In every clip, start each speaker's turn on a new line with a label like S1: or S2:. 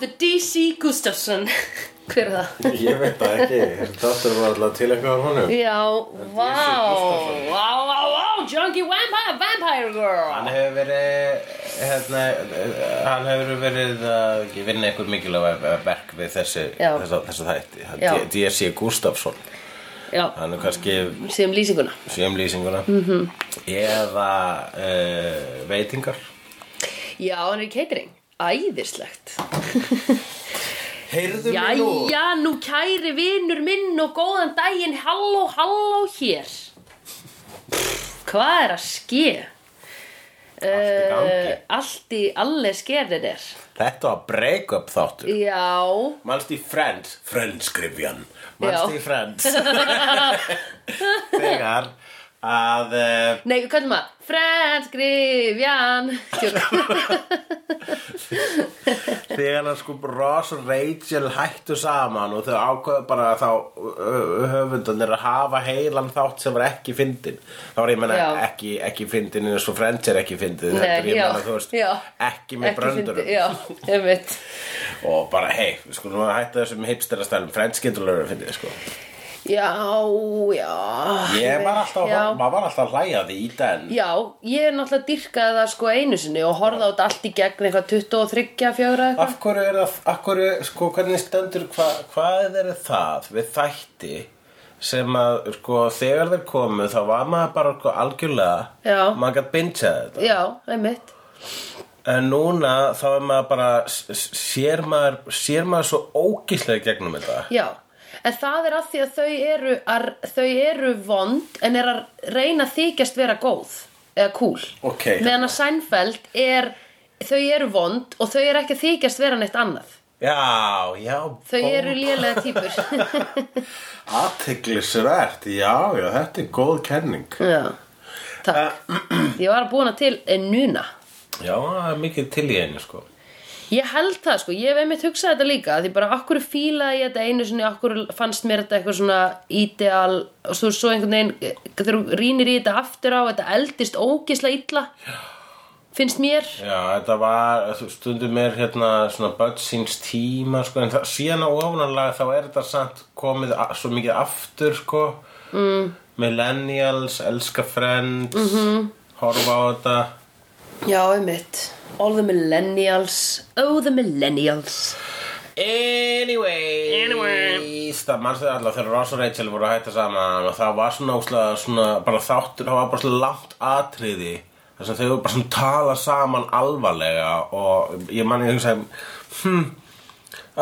S1: G. Gustafsson Hver er það?
S2: Ég veit það ekki, þáttur var alltaf til eitthvað af honum
S1: Já, vá
S2: Gustafsson.
S1: Vá, vá, vá, Junkie Vampire, Vampire
S3: Hann
S1: Girl
S3: hefur verið, hérna, eh, hann hefur verið að ekki vinna einhver mikilvæg verk við þessi,
S1: Já.
S3: þessa, þessa þætti. Hann-
S1: Já.
S3: D- D.S.C. Gustafsson,
S1: Já,
S3: hann er kannski
S1: sem lýsinguna
S3: sjöumlýsinguna, mm
S1: Mhm.
S3: -hmm. eða uh, veitingar.
S1: Já, hann er í catering Æðislegt
S3: Heyrðu mig nú.
S1: Jæja, nú kæri vinur minn og góðan daginn Halló, halló hér Pff, Hvað er að ske? eh.
S3: Allt í gangi.
S1: Allt í alle skerðir er
S3: Þetta var break-up þáttur.
S1: Já,
S3: Manst í Friends, Friends-grifjan. Manst
S1: Já.
S3: í Friends. Þegar að... Uh,
S1: Nei, hvað er maður? Frenskrifjan
S3: Þegar að sko Ross og Rachel hættu saman og þau ákveðu bara að þá höfundanir að hafa heilan þátt sem var ekki fyndin þá var ég meina
S1: Já.
S3: ekki, ekki fyndin eins og Friends er ekki fyndin
S1: Nei,
S3: heldur, ég
S1: já,
S3: meina, þú veist,
S1: já.
S3: ekki með bröndurum
S1: Já, einmitt
S3: og bara hei, við skulum að hætta þessum hipsterastælum Friends getur lögur að fyndin sko.
S1: Já, já
S3: ég var alltaf,
S1: já.
S3: maður var alltaf að hlæja að því í den
S1: Já, ég er náttúrulega dyrkaði það sko einu sinni og horfði á þetta allt í gegn eitthvað 23, 4 eitthvað
S3: Af hverju er það, af hverju, sko, hvernig stendur, hva, hvað er það við þætti sem að, sko, þegar þeir komu þá var maður bara sko, algjörlega,
S1: Já.
S3: maður gætt bingað þetta.
S1: Já, einmitt
S3: En núna þá er maður bara, s- s- sér maður, sér maður svo ógíslega gegnum þetta.
S1: Já, en það er að því að þau eru, að, þau eru vond en er að reyna að þykjast vera góð eða cool
S3: Ok.
S1: Meðan að Seinfeld er, þau eru vond og þau eru ekki að þykjast vera neitt annað
S3: Já, já.
S1: Þau
S3: bó-
S1: eru lélega týpur
S3: Athyglisvert, já, já, þetta er góð kenning.
S1: Já, takk Ég var að búna til en núna
S3: Já, það er mikið til í einu, sko.
S1: Ég held það sko, ég hef einmitt hugsað þetta líka Því bara akkur fílaði ég þetta einu sinni Akkur fannst mér þetta eitthvað svona Ideal, og svo, svo einhvern veginn eh, Þegar þú rýnir í þetta aftur á Þetta eldist ógisla illa Finnst mér
S3: Já, þetta var þú- stundum er hérna svona börn síns tíma sko, en það, síðan á ofananlega þá er þetta samt komið a, svo mikið aftur sko mm. Millennials, elska Friends -hmm. horfa á þetta
S1: Já, einmitt All the millennials Oh, the millennials
S3: Anyway
S1: Anyways.
S3: Það mannstu alltaf þegar Ross og Rachel voru að hætta saman og það var svona, óslega, svona bara þáttur, það var bara svona langt atriði þess að þau voru bara svona tala saman alvarlega og ég manni ég hugsaði hm,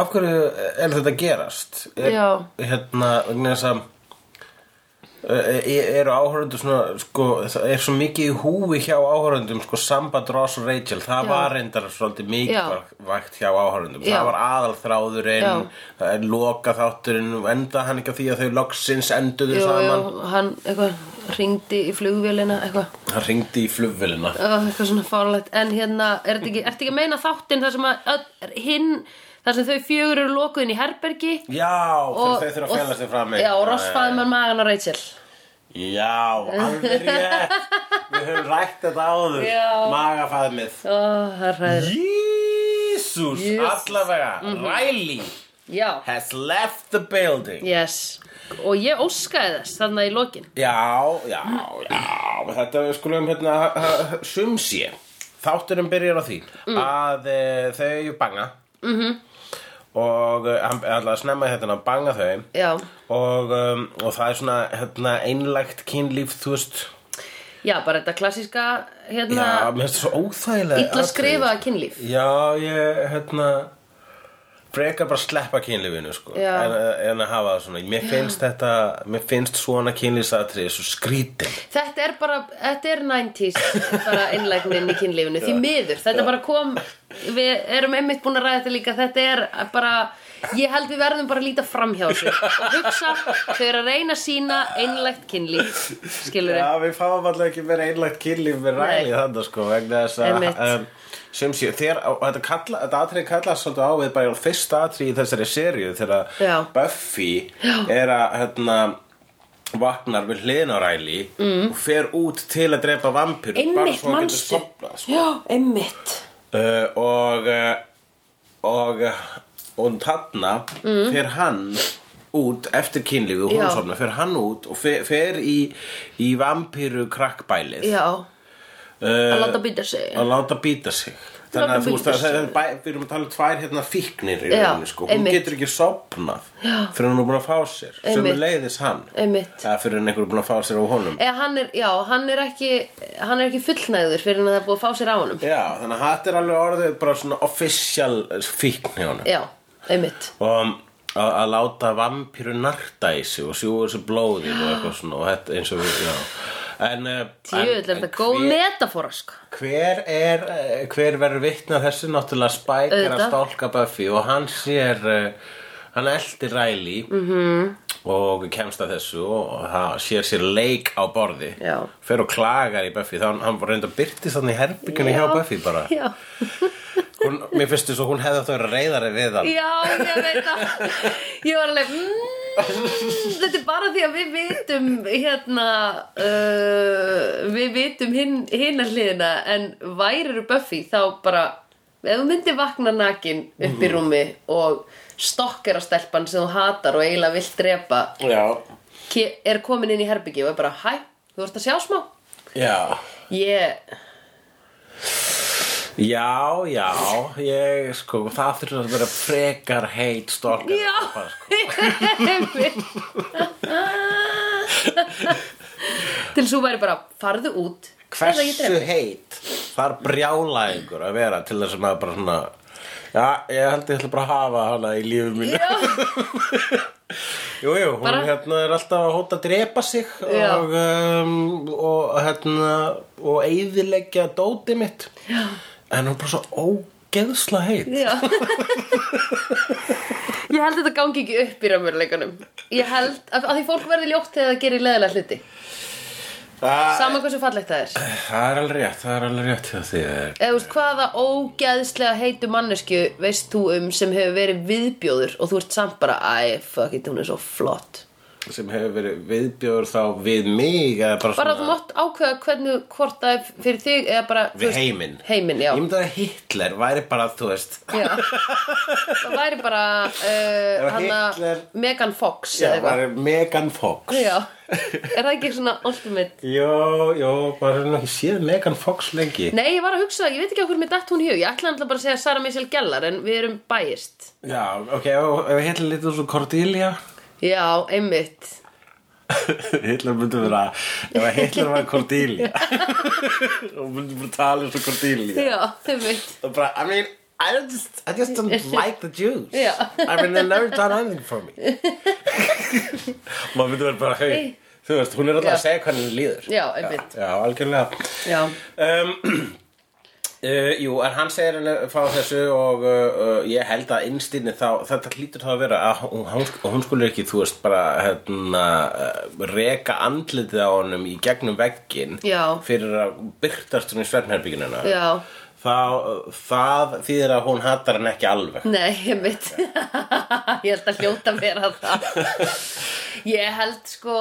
S3: af hverju er þetta að gerast? Er,
S1: Já.
S3: Hérna, vegna þess að Eh, eh, eru áhörundum svona sko, það er svo mikið í húfi hjá áhörundum sko, samband Ross og Rachel það
S1: Já.
S3: var reyndar svolítið mikilvægt hjá áhörundum,
S1: Já.
S3: það var aðalþráðurinn
S1: Já.
S3: það er loka þátturinn enda hann ekki á því að þau loksins enduðu
S1: Jú,
S3: saman
S1: jú, hann eitthvað Ringdi í flugvélina eitthvað
S3: hann ringdi í flugvélina
S1: Oh, eitthvað svona fárlegt En hérna, er þetta ekki, er þetta ekki að meina þáttinn þar sem að öll- hinn þar sem þau fjögur eru lokuðin í herbergi
S3: já, og, þau þurfa að fjalla sig fram
S1: Já, og rossfaði mann magan á Rachel
S3: já, alveg rétt við höfum rætt þetta áður
S1: Já.
S3: magafaðmið
S1: Ó, það er hræður
S3: Jísús,
S1: Jesús.
S3: allavega
S1: Mhm.
S3: Riley
S1: Já,
S3: has left the building
S1: yes Og ég óskaði þess þarna í lokin
S3: Já, já, já, þetta við skulum hérna sumsé, þátturum byrjar á því
S1: Mm.
S3: að e, þau banga mm
S1: Mhm.
S3: -hmm. og eh, hann er alltaf að snemma hérna að banga þau
S1: Já,
S3: og, um, og það er svona hérna, einlægt kynlíf, þú veist,
S1: já bara þetta klassíska hérna,
S3: já, mér finnst það svo óþægilega
S1: illa skrifaða kynlíf
S3: Já, ég, hérna frekar bara sleppa kynlífinu sko,
S1: Já.
S3: en, en að hafa það svona mér finnst þetta, mér finnst svona kynlífsatrið svo skrítin
S1: Þetta er bara, þetta er 90s bara innlægnin í kynlífinu, því miður þetta bara kom, við erum einmitt búin að ræða þetta líka, þetta er bara ég held við verðum bara að líta framhjá þessu og hugsa, þau eru að reyna að sína innlægt kynlíf skilur við,
S3: Já, við fáum alltaf ekki meira einlægt kynlíf við ræli
S1: Nei.
S3: þannig sko, vegna þess
S1: Einmitt.
S3: að um, sem sé, þegar, og þetta, kalla, þetta atrið kallast svolítið á við bara fyrsta atrið í þessari seríu þegar
S1: Já.
S3: Buffy er að hérna, vaknar við hliðin á ræli mm. og fer út til að drepa vampir
S1: einmitt
S3: manstu
S1: manstu
S3: sopna, sko.
S1: já, einmitt
S3: uh, eh, og uh, og uh, og þarna mm. fer hann út eftir kynlífi og
S1: Já.
S3: hún sofna fer hann út og fer, fer í, í vampíru krakkbælið
S1: já,
S3: uh,
S1: að láta býta sig
S3: að láta býta sig þannig
S1: Láta
S3: að þú veist
S1: bíta
S3: að
S1: sig.
S3: það er bæ, við erum að tala um tvær hérna fíknir í
S1: Já,
S3: rauninni sko, hún
S1: einmitt.
S3: getur ekki sopnað
S1: Já.
S3: fyrir hún er búin að fá sér sem
S1: Einmitt.
S3: er leiðis hann
S1: einmitt
S3: eða fyrir hann einhver er búin að fá sér á honum
S1: Eða hann er, já, hann er ekki hann er ekki fullnæður fyrir hann að það er búið að fá sér á honum
S3: já, þannig að þetta er alveg orðið bara svona official eh, fíkn í honum
S1: Já, einmitt
S3: og um, að að láta vampíru narta í sig og sjúa þessu blóði og eitthvað svona og þetta eins og við, já En, eh, en,
S1: Jöfull, er
S3: en
S1: þetta góð
S3: hver-
S1: metafóra, sko
S3: Hver er, eh, hver verður vitna að þessu náttúrulega Spike er að
S1: Auðvitað.
S3: stálka Buffy og hann sér, eh, hann eldir Riley -hmm.
S1: Mhm.
S3: og kemst að þessu og það sér sér leik á borði
S1: Já.
S3: fer og klagar í Buffy þá hann- hann var reynda að byrti þannig í herbyggunni hjá
S1: Já.
S3: Buffy bara
S1: Já,
S3: hún, mér finnst þess að hún hefði átt að vera reyðari við hann
S1: já, ég veit það Ég var alveg mm, Þetta er bara því að við vitum hérna uh, við vitum hinn hin hliðina en væriru Buffy þá bara ef þú myndir vakna nakin upp í rúmi og stokkar á stelpan sem þú hatar og eiginlega vilt drepa
S3: Já,
S1: ke- er komin inn í herbyggi og er bara hæ, þú vorst að sjá smá
S3: já
S1: ég,
S3: Já, já, ég sko, það þurftur að vera frekar heit stólkar
S1: Já.
S3: sko.
S1: til svo væri bara farðu út eða ég
S3: Hversu
S1: drep.
S3: heit þar brjála ykkur að vera til þess að maður bara svona Já, ég held ég ætla bara að hafa hana í lífi mínu
S1: Já,
S3: Jú, jú, hún
S1: Bara-
S3: hérna er alltaf að hóta að drepa sig
S1: Já.
S3: og, um, og hérna og eyðileggja dóti mitt já. En hún er bara svo ógeðsla heit
S1: já. ég held að þetta gangi ekki upp í raunveruleikunum ég held að, að því fólk verði ljótt þegar það gerir leðilega hluti
S3: Það,
S1: saman hversu fallegt það er
S3: það er alveg rétt, það er alveg rétt hjá þér
S1: eða þú veist hvaða ógeðslega heitu mannesku veist þú um sem hefur verið viðbjóður og þú ert samt bara æ, fuck it, hún er svo flott
S3: sem hefur verið viðbjóður þá við mig eða bara,
S1: bara þú
S3: svona
S1: mátt ákveða hvernig hvort það er fyrir þig eða bara þú
S3: við
S1: veist,
S3: heiminn
S1: heiminn, já.
S3: ég myndi að Hitler væri bara þú veist
S1: Já. það væri bara uh,
S3: Ef
S1: hana,
S3: Hitler-
S1: Megan Fox
S3: já,
S1: eða eitthvað
S3: væri Megan Fox
S1: já, er það ekki svona ultimate
S3: Jó, jó, bara hann ekki séð Megan Fox lengi
S1: nei, ég var að hugsa, ég veit ekki okkur með datt hún í hug ég ætla alltaf bara að segja Sarah Michelle Gellar en við erum bæjist
S3: Já, ok, ef ef Hitler litur svo Cordelia
S1: já, einmitt
S3: Hitler myndi vera ef Hitler var Cordelia og myndi bara tala eins og Cordelia
S1: já, einmitt
S3: og bara, I mean I just, I just don't like the Jews
S1: Já.
S3: I mean, they've never done anything for me maður myndi verið bara hey, þú veist, hún er alltaf að
S1: Já.
S3: segja hvernig hún líður
S1: Já, einmitt.
S3: já, já algjörlega
S1: já,
S3: um, uh, Jú, en hann segir henni frá þessu og uh, uh, ég held að innstinni þá, þetta hlýtur þá að vera að hún, hún, hún skulle ekki, þú veist, bara hérna, uh, reka andlitið á honum í gegnum veggin
S1: Já.
S3: fyrir að byrtast hún í svernherbygginu
S1: Já.
S3: Þá, það þýðir að hún hatar hann ekki alveg
S1: nei, einmitt ég held að hljóta vera það ég held sko,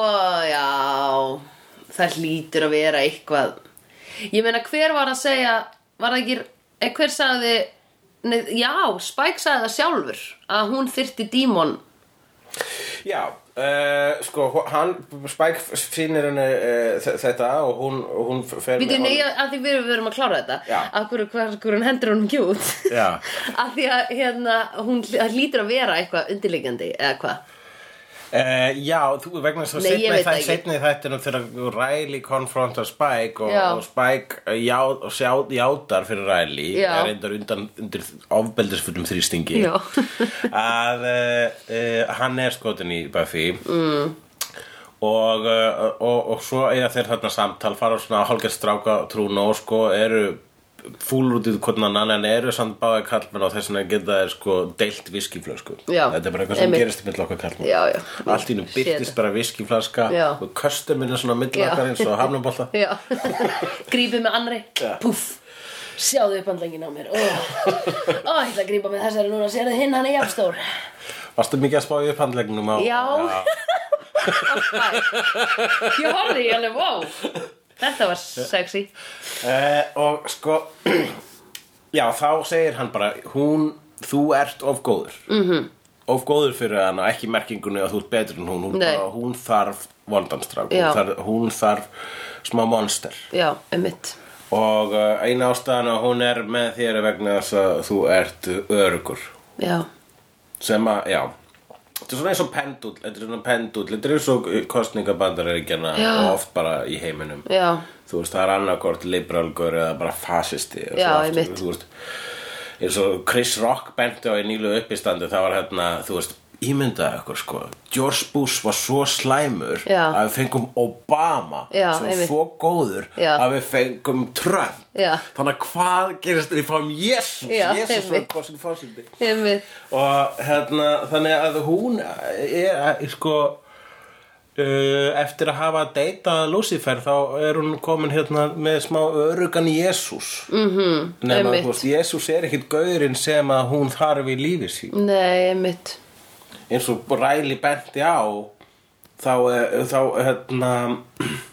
S1: já það hlýtur að vera eitthvað ég meina hver var að segja var það ekki, eh, hver sagði nei, já, Spike sagði það sjálfur að hún þyrti dímon
S3: Já, uh, sko, hú- hann, Spike finnir henni uh, þetta og hún, hún fer
S1: við
S3: honum-
S1: nei, að því við við erum að klára þetta
S3: Já.
S1: af hverju, hver, hverju hún hendur hún ekki út
S3: Já.
S1: af því að hérna hún það hlýtur að vera eitthvað undirliggjandi eða hvað,
S3: Uh, já, þú vegna svo
S1: Nei, ég
S3: setni,
S1: veit
S3: þæ,
S1: það ekki.
S3: setni þættinum þegar Riley konfrontar Spike og,
S1: Já.
S3: og Spike eh, já, og sjá, játar fyrir Riley
S1: Já.
S3: er reyndar undan undir ofbeldisfullum þrýstingi
S1: Já.
S3: að uh, uh, hann er skotin í Buffy mm. og, uh, og, og svo eiga þeir þarna samtal fara á svona hálfgerð stráka trúna og sko eru fúl út í hvernig annan en eru samt báði kallmenn og þess vegna geta þeir sko deilt viskiflösku
S1: Já.
S3: þetta er bara eitthvað sem
S1: Einmitt.
S3: gerist í myndla okkar kallmenn
S1: já, já
S3: allt í nú byrtist bara viskiflaska
S1: Já.
S3: og köstuminn er svona
S1: Já.
S3: millakar eins og hafnabólta
S1: Já, grípið með annri
S3: Já.
S1: Puff, sjáðu upp handlengin á mér Ó, ó, ég ætla að grípa með þessari núna Sérðu hinn, hann er jafnstór
S3: varstu mikið að spá í upphandlegnum á
S1: Já, ég horfði ég alveg, wow Þetta var sexy
S3: Eh, og sko já þá segir hann bara hún þú ert of góður -hmm.
S1: Mhm.
S3: of góður fyrir hana, ekki í merkingunni að þú ert betur en hún hún,
S1: Nei.
S3: bara, hún þarf vondanstrák hún
S1: Já.
S3: þarf, hún þarf smá monster
S1: já, einmitt
S3: og uh, eina ástæðan að hún er með þér er vegna þess að þú ert örugur
S1: já,
S3: sem að, já þetta er svona eins og pendull þetta er svona pendull, þetta er eins og kostningabandaríkjana
S1: Já.
S3: og oft bara í heiminum
S1: já,
S3: þú veist, það er annarkort liberalgur eða bara fasisti og svo
S1: Já,
S3: aftur,
S1: einmitt.
S3: þú veist, eins og Chris Rock benti á í nýlu uppistandi það var hérna, þú veist, ímyndaðu ykkur sko, George Bush var svo slæmur
S1: Já.
S3: að við fengum Obama
S1: Já,
S3: sem
S1: einmitt.
S3: svo góður
S1: Já.
S3: að við fengum Trump
S1: Já.
S3: þannig að hvað gerist við fáum Jesus,
S1: Já,
S3: Jesus var
S1: einmitt.
S3: kosin fósindi
S1: einmitt
S3: og hérna þannig að hún er sko uh, eftir að hafa deytað Lucifer þá er hún komin hérna með smá örugan Jésús mm -hmm, nema
S1: Mhm, einmitt.
S3: þú veist Jésús er ekkit gaurinn sem að hún þarf í lífi sín
S1: nei, einmitt
S3: eins og Ræli benti á þá, eh, þá hérna,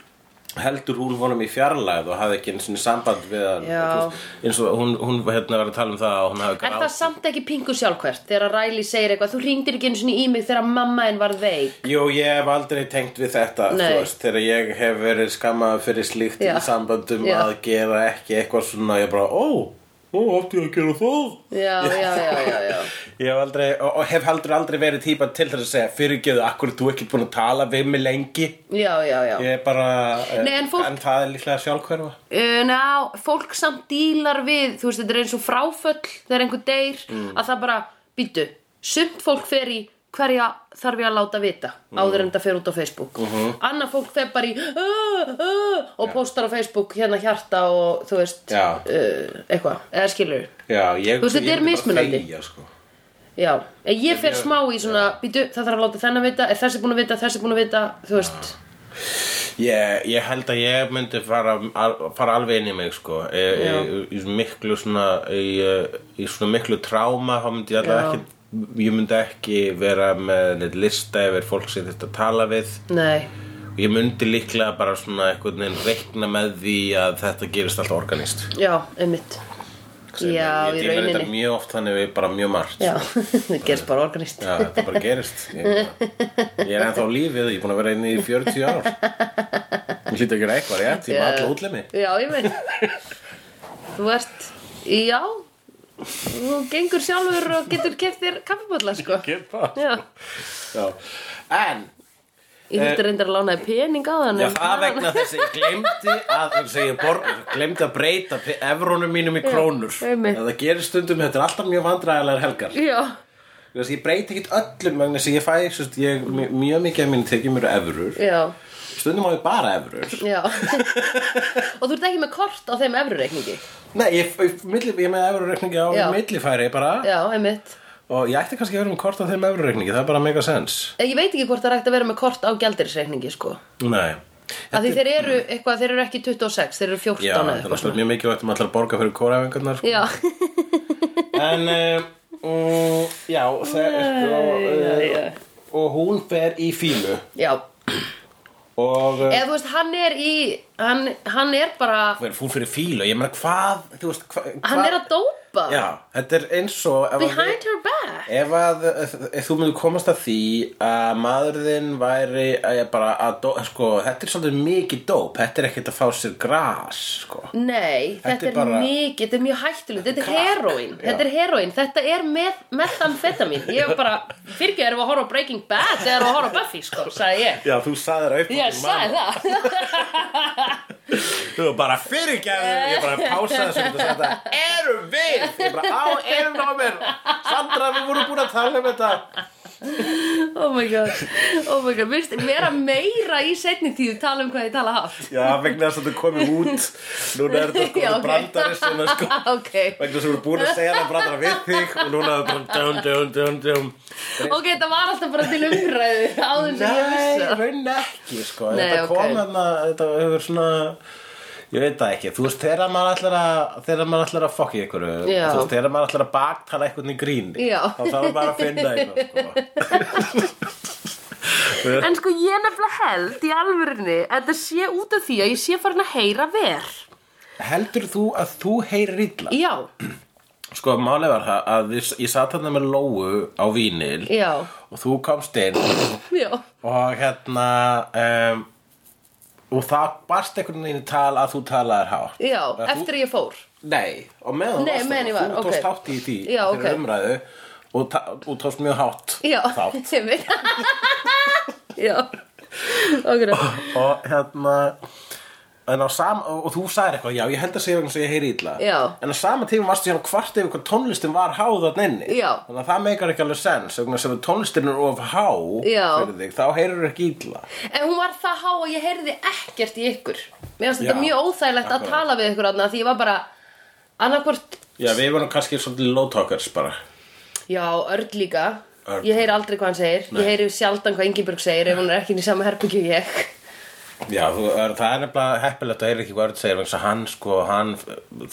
S3: heldur hún honum í fjarlæð og hafði ekki einu sinni samband við hann
S1: Já.
S3: Þú veist, eins og hún, hún hérna, var að tala um það að hún hafi
S1: Er það samt ekki pingu sjálfkvært þegar Riley segir eitthvað, þú ringdir ekki einu sinni í mig þegar mamma en var veik
S3: Jú, ég hef aldrei tengt við þetta þú
S1: Nei.
S3: veist, þegar ég hef verið skammaður fyrir slíkt
S1: Já.
S3: í sambandum
S1: Já.
S3: að gera ekki eitthvað svona ég bara, ó, ó, átti ég að gera það
S1: Já, já, já, já, já
S3: Ég hef aldrei, og, og hef heldur aldrei verið típa til þess að segja, fyrirgeðu, akkur þú ekki búin að tala við mig lengi
S1: Já, já, já
S3: Ég er bara, eh,
S1: Nei, en fólk-
S3: það er líklega sjálfhverfa
S1: Uh, ná, fólk samt dílar við þú veist, þetta er eins og fráföll þegar einhver deyr
S3: Mm.
S1: að það bara, býtu sumt fólk fer í hverja þarf ég að láta vita
S3: Mm.
S1: áður en þetta fer út á Facebook uh
S3: Mhm.
S1: annað fólk fer bara í uh, uh, og postar á Facebook hérna hjarta og þú veist
S3: Já.
S1: uh, eitthvað, eða skilur
S3: Já, ég,
S1: Þú veist, þetta
S3: ég
S1: er
S3: myndi bara
S1: mismunandi.
S3: þegja, sko.
S1: já, en ég fer smá í svona býtu, það þarf að láta þennan vita, er þessi búin að vita þessi búin að vita, þú veist
S3: Ég, ég held að ég myndi fara, al, fara alveg inn í mig sko í, í, í, í miklu svona í, eh, í svona miklu tráma þá myndi ég
S1: Já.
S3: alltaf ekki ég myndi ekki vera með neitt lista yfir fólk sem þetta tala við
S1: nei,
S3: ég myndi líklega bara svona einhvern veginn reikna með því að þetta gerist alltaf organist
S1: já, einmitt
S3: Sem
S1: Já, í
S3: ég díla við þetta
S1: rauninni.
S3: mjög oft þannig við bara mjög margt
S1: já, það gerst bara organist
S3: Já, þetta bara gerist Ég, ég er ennþá á lífið, ég er búin að vera inn í 40 ár Ég hlýta ekki reikvar, ég ætti, ég var alltaf útlemi
S1: Já, ég veit Þú ert, já Þú gengur sjálfur og getur keft þér kaffibólla, sko
S3: Get það
S1: Já,
S3: Já. En
S1: ég þurfti reyndar að lánaði pening á þann
S3: Já,
S1: en-
S3: það vegna þess að ég glemdi að, þess að ég bor, glemdi að breyta pe- evrónum mínum í krónur
S1: einmitt.
S3: það gerir stundum, þetta er alltaf mjög vandræðilegar helgar
S1: Já,
S3: þess að ég breyti ekkit öllum vegna þess að ég fæ sérst, ég, mj- mjög mikið af mínu tekið mér evrur
S1: já,
S3: stundum á ég bara evrur
S1: já Og þú ert ekki með kort á þeim efrureikningi
S3: nei, ég, ég, milli, ég er með evrureikningi á
S1: Já.
S3: millifæri bara
S1: Já, einmitt
S3: og ég ætti kannski að vera með kort á þeim evrureikningi það er bara mega sens
S1: Eh, Ég veit ekki hvort það er hægt að vera með kort á gjaldirisreikningi, sko
S3: nei
S1: Af því þeir eru eitthvað, þeir eru ekki 26, þeir eru 14 eða
S3: Já, það er
S1: eitthvað
S3: náttúrulega mjög mikilvægt um allar að borga fyrir kóraæfingarnar
S1: Já,
S3: En uh, um, já, það er sko uh, og hún fer í fílu
S1: já
S3: og uh,
S1: Eða þú veist, hann er í, hann, hann er bara,
S3: fer hún fyrir fílu, ég meina hvað þú veist, hva, hvað
S1: hann er að dópa
S3: Já, þetta er eins og ef að
S1: Behind her back
S3: Ef að ef, ef þú myndir komast að því að maðurðinn væri að ég bara að dó, sko, þetta er svolítið mikið dóp, þetta er ekkert að fá sér gras, sko.
S1: Nei, þetta,
S3: Þetta er
S1: er
S3: bara-
S1: mikið, þetta er mjög hættulegt Þetta er
S3: Crack.
S1: heroin, þetta er heroin Þetta er með, methamphetamine Ég var bara, fyrir erum við að horfa á Breaking Bad eða erum við að horfa á Buffy, sko, sagði ég
S3: Já, þú sagðir um að upp
S1: Ég sagði það
S3: Þú var bara fyrirgæðum, ég bara pásaði þessu og sagði þetta, erum við? Ég bara, á, erum á mér, Sandra, við vorum búin að tala um þetta.
S1: Oh my god, oh my god Vist, vera meira í setni tíð tala um hvað ég tala hátt
S3: Já, vegna þess að þetta komið út, núna er þetta sko
S1: Já,
S3: okay.
S1: ok.
S3: brandari sem er sko,
S1: Ok,
S3: vegna þess að við vorum búin að segja það brandara við þig og núna er þetta bara dum, dum, dum, dum.
S1: ok, þetta var alltaf bara til umræðu áður sem ég
S3: Nei,
S1: vissi það.
S3: raun ekki, sko,
S1: Nei,
S3: þetta kom
S1: ok.
S3: hérna, þetta hefur svona... Ég veit það ekki, þú veist, þegar maður ætlar að þegar maður ætlar að fokki ykkur þú
S1: Já.
S3: veist, þegar maður ætlar að baktala eitthvað í gríni
S1: Já.
S3: þá þarf maður að finna eitthvað sko.
S1: En sko ég nefnilega held í alvörinni Þetta sé út af því að ég sé farin að heyra ver
S3: Heldur þú að þú heyrir illa?
S1: Já,
S3: Sko, málið var það að við, ég satt þarna með Lóu á vínil
S1: Já.
S3: og þú komst inn
S1: Já,
S3: og hérna um, og það barst einhvern veginn í tal að þú talaðir hátt.
S1: já,
S3: Að þú-
S1: eftir að ég fór
S3: Nei, og meðan
S1: Nei,
S3: varst
S1: meðan ég
S3: þarna,
S1: var,
S3: þú tókst
S1: ok.
S3: hátt í því
S1: Já,
S3: fyrir
S1: ok.
S3: umræðu og, ta- og tókst mjög hátt
S1: Já,
S3: þátt.
S1: sem við Já, okkur
S3: og hérna En á sama, og og þú sagðir eitthvað, já, ég held að segja vegna sem ég heyri illa
S1: Já.
S3: En á sama tíma varstu hérna hvart yfir hvað tónlistin var háð á nenni
S1: Já.
S3: Þannig að það meikar ekki alveg sens Vegna sem tónlistin er of há
S1: Já.
S3: fyrir þig, Þá heyrir ekki illa
S1: En hún var það há að ég heyrði ekkert í ykkur Mér fannst
S3: Já,
S1: þetta mjög óþægilegt
S3: akkurat.
S1: að tala við ykkur aðna Því ég var bara annarkvort
S3: Já, við varum kannski svolítið low talkers bara
S1: Já, Örn líka
S3: Örn.
S1: Ég heyri aldrei hvað hann segir
S3: Nei.
S1: Ég heyri sjaldan hvað Ingeborg segir Ef hún er ekki inn í sama herbyggju og ég
S3: Já, þú, er, það er nefnilega heppilegt að heyra ekki hvað Örn segir Vegna sem hann, sko, hann,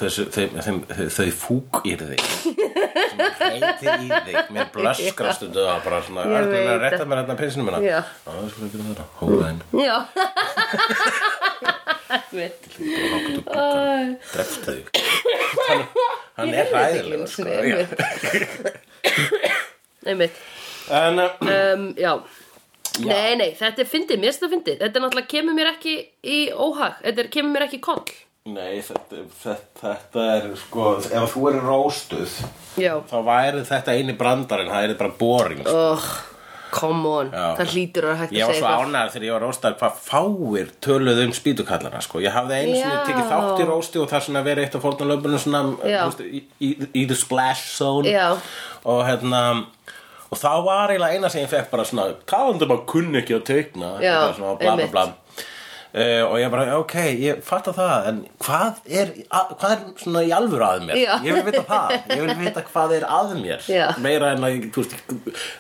S3: þessu, þeim, þeim, þau, þau fúk í þig Sem hreyti í þig, mér blöskra stundu Það bara svona,
S1: Ég
S3: Örn er að
S1: veit
S3: rétta mér hérna pinsinu minna
S1: Já.
S3: Já, það er sko ekki það Hóðaðinn
S1: Já Mitt Æ,
S3: dreftu hann, hann
S1: Ég
S3: er
S1: heyrði þetta ekki
S3: ræðilega
S1: einu
S3: sko,
S1: sinni, Nei, mitt
S3: já. en uh,
S1: um, Já Nei, nei, þetta er fyndið, mér finnst þetta fyndið Þetta er náttúrulega kemur mér ekki í óhag Þetta er, kemur mér ekki í koll
S3: nei, þetta, þetta, þetta er sko, ef þú eru róstuð
S1: Já
S3: þá væri þetta eini brandarinn það er bara boring sko.
S1: oh, Come on,
S3: Já.
S1: það hlýtur að vera hægt
S3: ég
S1: að
S3: var
S1: segja
S3: svo
S1: eitthvað.
S3: ánægður þegar ég var róstaður hvað fáir töluðu um spýtukallana sko. ég hafði einu sinni
S1: Já.
S3: tekið þátt í rósti og það er svona verið eitt af fórnalöfunum svona,
S1: Já.
S3: þú veist, í, í, í the splash zone
S1: Já.
S3: og hérna og það var eiginlega eina sem ég fekk bara svona talandum að kunni ekki að teikna
S1: Já,
S3: Eitthvað svona, bla, bla,
S1: einmitt.
S3: bla. Uh, og ég bara, ok, ég fatta það en hvað er, að, hvað er svona í alvöru að mér?
S1: Já.
S3: Ég vil vita það ég vil vita hvað er að mér
S1: Já.
S3: meira en að, þú veist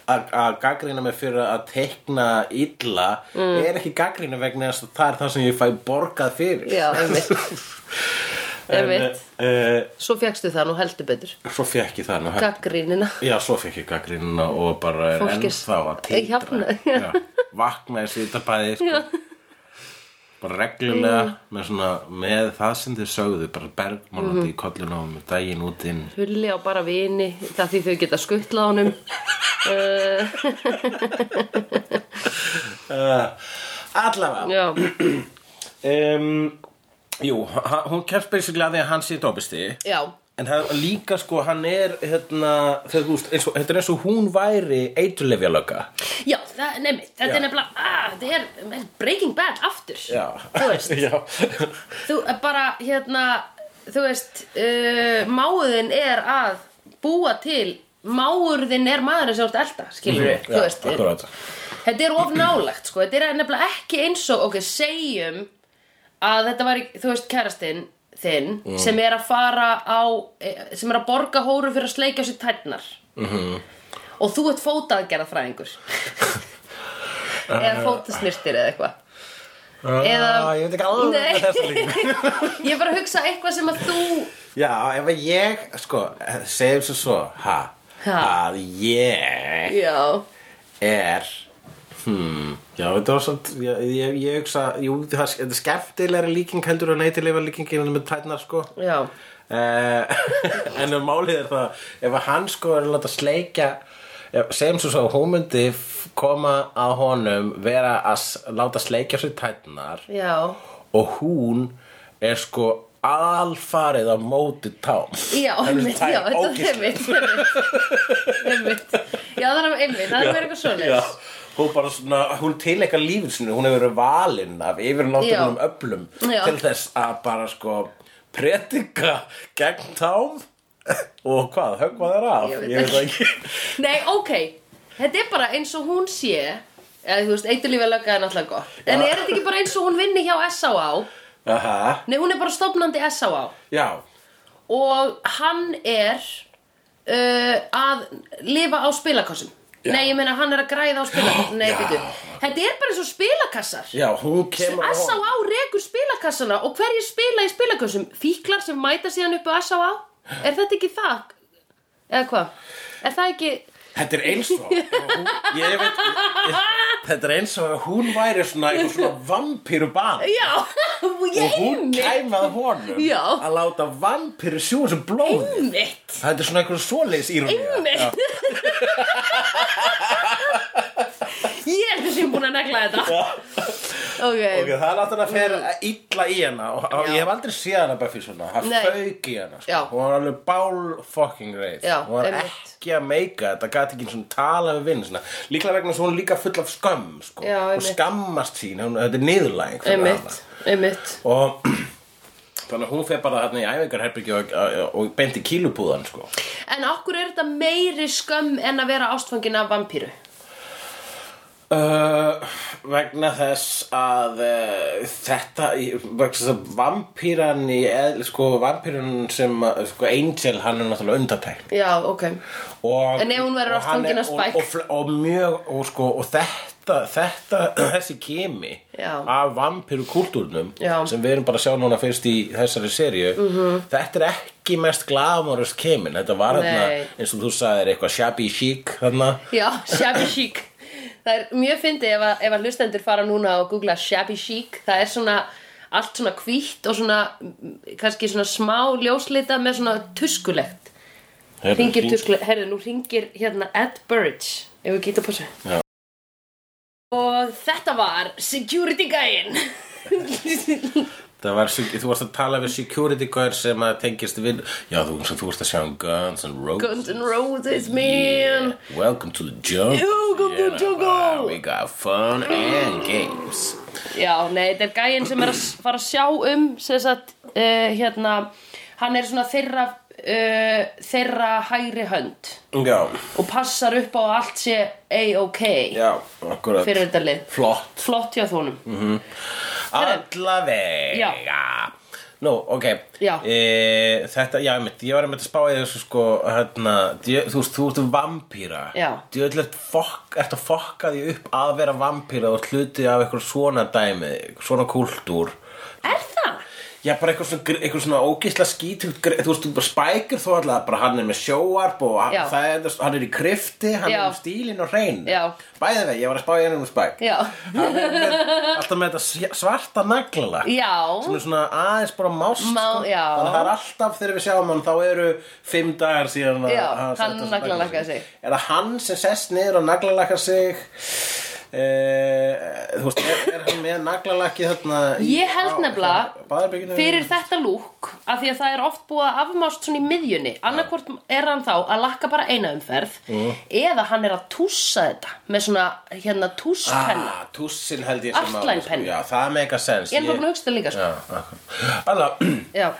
S3: að, að gaggrina mig fyrir að teikna illa,
S1: Mm.
S3: er ekki gaggrina vegna þess að það er það sem ég fæ borgað fyrir
S1: Já, einmitt,
S3: en,
S1: einmitt.
S3: uh,
S1: Svo fegstu það nú heldur betur
S3: svo fekk ég það nú
S1: Gaggrínina
S3: Já, svo fekk ég gaggrínuna og bara er
S1: Fólk er-
S3: ennþá að
S1: Ég jafna-
S3: teitra Já, Vaknaði svitabæði sko. Bara reglulega
S1: Mm.
S3: með, svona, með það sem þið sögðu bara bergmálandi
S1: Mhm.
S3: í kollun á með daginn út inn
S1: Hulli á bara vini Það því þau geta skuttlað honum uh,
S3: Allavega
S1: Já,
S3: um, Jú, ha- hún kemst basically að því að hann sé dopisti
S1: já
S3: En hann, líka sko, hann er hérna, þegar þú veist, eins og, þetta er eins og hún væri eiturlefja
S1: Já, það, nefnir, þetta
S3: Já.
S1: er nefnilega ah, Þetta er menn, Breaking Bad aftur
S3: Já,
S1: Þú veist,
S3: Já.
S1: þú er bara hérna Þú veist, uh, máðin er að búa til Máurðin er maðurinn sem þú ert elda Skilur við,
S3: Mhm. Já,
S1: þú veist er-
S3: akkurat.
S1: Þetta er of nálægt sko, þetta er nefnilega ekki eins og, ok, segjum að þetta var, þú veist, kærastinn þinn
S3: Mhm.
S1: sem er að fara á, eh, sem er að borga hóru fyrir að sleikja sér tætnar mm
S3: Mhm.
S1: -hmm. og þú ert fótaðgerðafræðingur eða fótasnirtir eða eitthvað Eða-
S3: Ah, Ég veit ekki alveg
S1: Nei.
S3: með þessa líka
S1: Ég er bara að hugsa eitthvað sem að þú,
S3: Já, ef að ég, sko, segjum svo svo, ha,
S1: Ha.
S3: að ég
S1: já,
S3: er, hmm, já, þetta var svolítið, ég, ég, ég hugsa, jú, það er- þetta er skemmtilegri líking heldur en neitilega líkingin með tætnar, sko.
S1: já,
S3: Uh, en um málið er það, ef að hann sko er að láta sleikja, ef- segjum svo svo, hún myndi f- koma að honum vera að s- láta sleikja sér tætnar
S1: já,
S3: og hún er sko alfarið á móti tám
S1: já,
S3: Það eru
S1: einmitt,
S3: tær
S1: já, þetta er
S3: ógeðslega.
S1: einmitt, einmitt, einmitt, já, það er einmitt, það er verið eitthvað
S3: Já,
S1: svoleiðis.
S3: hún bara svona, hún tilekka lífið sinu, hún hefur verið valinn af yfir náttúrulegum
S1: Já.
S3: öflum
S1: Já.
S3: til þess að bara sko predika gegn tám og hvað, höggva þær af
S1: Ég veit
S3: það ekki
S1: Nei, ok, þetta er bara eins og hún sé eða þú veist, eiturlífi að lögga er náttúrulega gott en er þetta ekki bara eins og hún vinni hjá S.A.A.
S3: Aha,
S1: Nei, hún er bara stofnandi S.A.A.
S3: já,
S1: og hann er uh, að lifa á spilakassum
S3: Já.
S1: Nei, ég meina hann er að græða á spilakassum Nei,
S3: Já.
S1: býtu, þetta er bara eins og spilakassar
S3: já, hún kemur á-
S1: S.A.A. rekur spilakassana og hverjir spila í spilakassum? Fíklar sem mæta síðan upp á S.A.A. Er þetta ekki það? Eða hvað? Er það ekki...
S3: Þetta er eins og hún, ég veit, ég, Þetta er eins og að hún væri svona einhver svona vampíru barn
S1: Já,
S3: og
S1: ég
S3: hún
S1: einmitt
S3: kæmað honum
S1: Já.
S3: að láta vampíru sjúa sem blóði
S1: Einmitt
S3: Þetta er svona einhver svoleiðis írónía
S1: Einmitt Ég er þessi búin að negla þetta
S3: Ok,
S1: Ok,
S3: það er náttúrulega að fer illa í hana og, og
S1: Mm. Já.
S3: ég hef aldrei séð hana Buffy svona, það
S1: Nei.
S3: fauk í hana
S1: Já.
S3: sko. hún var alveg bál fucking reið
S1: Já,
S3: hún var
S1: einmitt.
S3: ekki að meika þetta gæti ekki svona tala við vinn svona. líklega vegna svo hún er líka full af skömm sko.
S1: Já,
S3: hún
S1: einmitt.
S3: skammast sín, hún, þetta er niðurlæg
S1: einmitt Einmitt
S3: og þannig að hún fer bara þarna í æfingarherbyggju og, og, og benti kílupúðan sko.
S1: En okkur er þetta meiri skömm en að vera ástfangin af vampíru
S3: Uh, vegna þess að uh, þetta, í- vegna þess að vampýran í, eðl- sko, vampýran sem, uh, sko, Angel, hann er náttúrulega undartækn
S1: Já, ok
S3: og,
S1: En ef hún verður
S3: og
S1: oft
S3: hann er-
S1: fangin af Spike?
S3: og, og, fl- og mjög, og sko, og þetta, þetta, þessi kemi
S1: Já.
S3: af vampýru kultúrnum
S1: Já. Mhm.
S3: sem við erum bara að sjá núna fyrst í þessari serju -hmm. þetta er ekki mest glamorous kemin, þetta var
S1: Nei.
S3: þarna eins og þú sagðir eitthvað shabby chic þarna
S1: Já, shabby chic Það er mjög fyndið ef, að- ef að hlustendur fara núna og googla shabby chic Það er svona allt svona hvítt og svona mm, kannski svona smá ljóslita með svona tuskulegt
S3: Heyrðu,
S1: Ringir
S3: hring-
S1: tuskulegt, herðu nú ringir hérna Ed Burridge Ef við geta pásu
S3: Já.
S1: Og þetta var security guy-in
S3: Það var, þú varst að tala við security guard sem að tengist við Já, þú, þú varst að sjá um Guns and Roses
S1: Guns N' Roses man
S3: Yeah. Welcome to the jungle Ah,
S1: Welcome to the jungle.
S3: We got fun and games
S1: Já, nei, þetta er gæinn sem er að s- fara að sjá um sem sagt, uh, hérna hann er svona þeirra uh, þeirra hægri hönd
S3: Já,
S1: og passar upp á að allt sé A-OK
S3: já, Mm. akkurat
S1: fyrir þetta lið
S3: Flott
S1: Flott hjá þónum
S3: Alla vega Nú, ok
S1: Já.
S3: e, Þetta, já, mitt, ég var einmitt að spá í þessu sko hérna, djö, Þú veist, þú ert vampíra
S1: Já.
S3: Djöðlega fokk, ert að fokka því upp að vera vampíra og hluti af eitthvað svona dæmi svona kúltúr
S1: Er það?
S3: Já, bara eitthvað svona, eitthvað svona ógisla skítugt gre- Þú veist, þú bara spækir þó alltaf bara hann er með sjóarp og hann,
S1: Já.
S3: það er, hann er í krifti, hann
S1: Já.
S3: er um stílinn og hrein
S1: Já.
S3: Bæði vegi, ég var að spá í hennum um spæk
S1: Já,
S3: Hann er með, alltaf með þetta sj- svarta naglalakk sem
S1: já,
S3: er svona aðeins bara mást
S1: Má-
S3: sko.
S1: já.
S3: þannig að það er alltaf þegar við sjáum hann þá eru fimm dagar síðan að
S1: Já,
S3: hann
S1: hann
S3: setti á sig
S1: naglalakkaði sig.
S3: er það hann sem sest niður og naglalakka sig eh, þú veist, er, er hann með naglalakki þarna í-
S1: Ég held
S3: á-
S1: nefnilega,
S3: baðherberginu?
S1: fyrir þetta lúk af því að það er oft búið að afmást svona í miðjunni annarkvort er hann þá að lakka bara eina umferð
S3: Mm.
S1: eða hann er að tússa þetta með svona hérna tússpenna
S3: ah, tússin held ég sem
S1: Outline pen.
S3: já, það make a sense
S1: Ég er bara búin að hugsa þetta líka sko.
S3: hugsa alveg
S1: Já.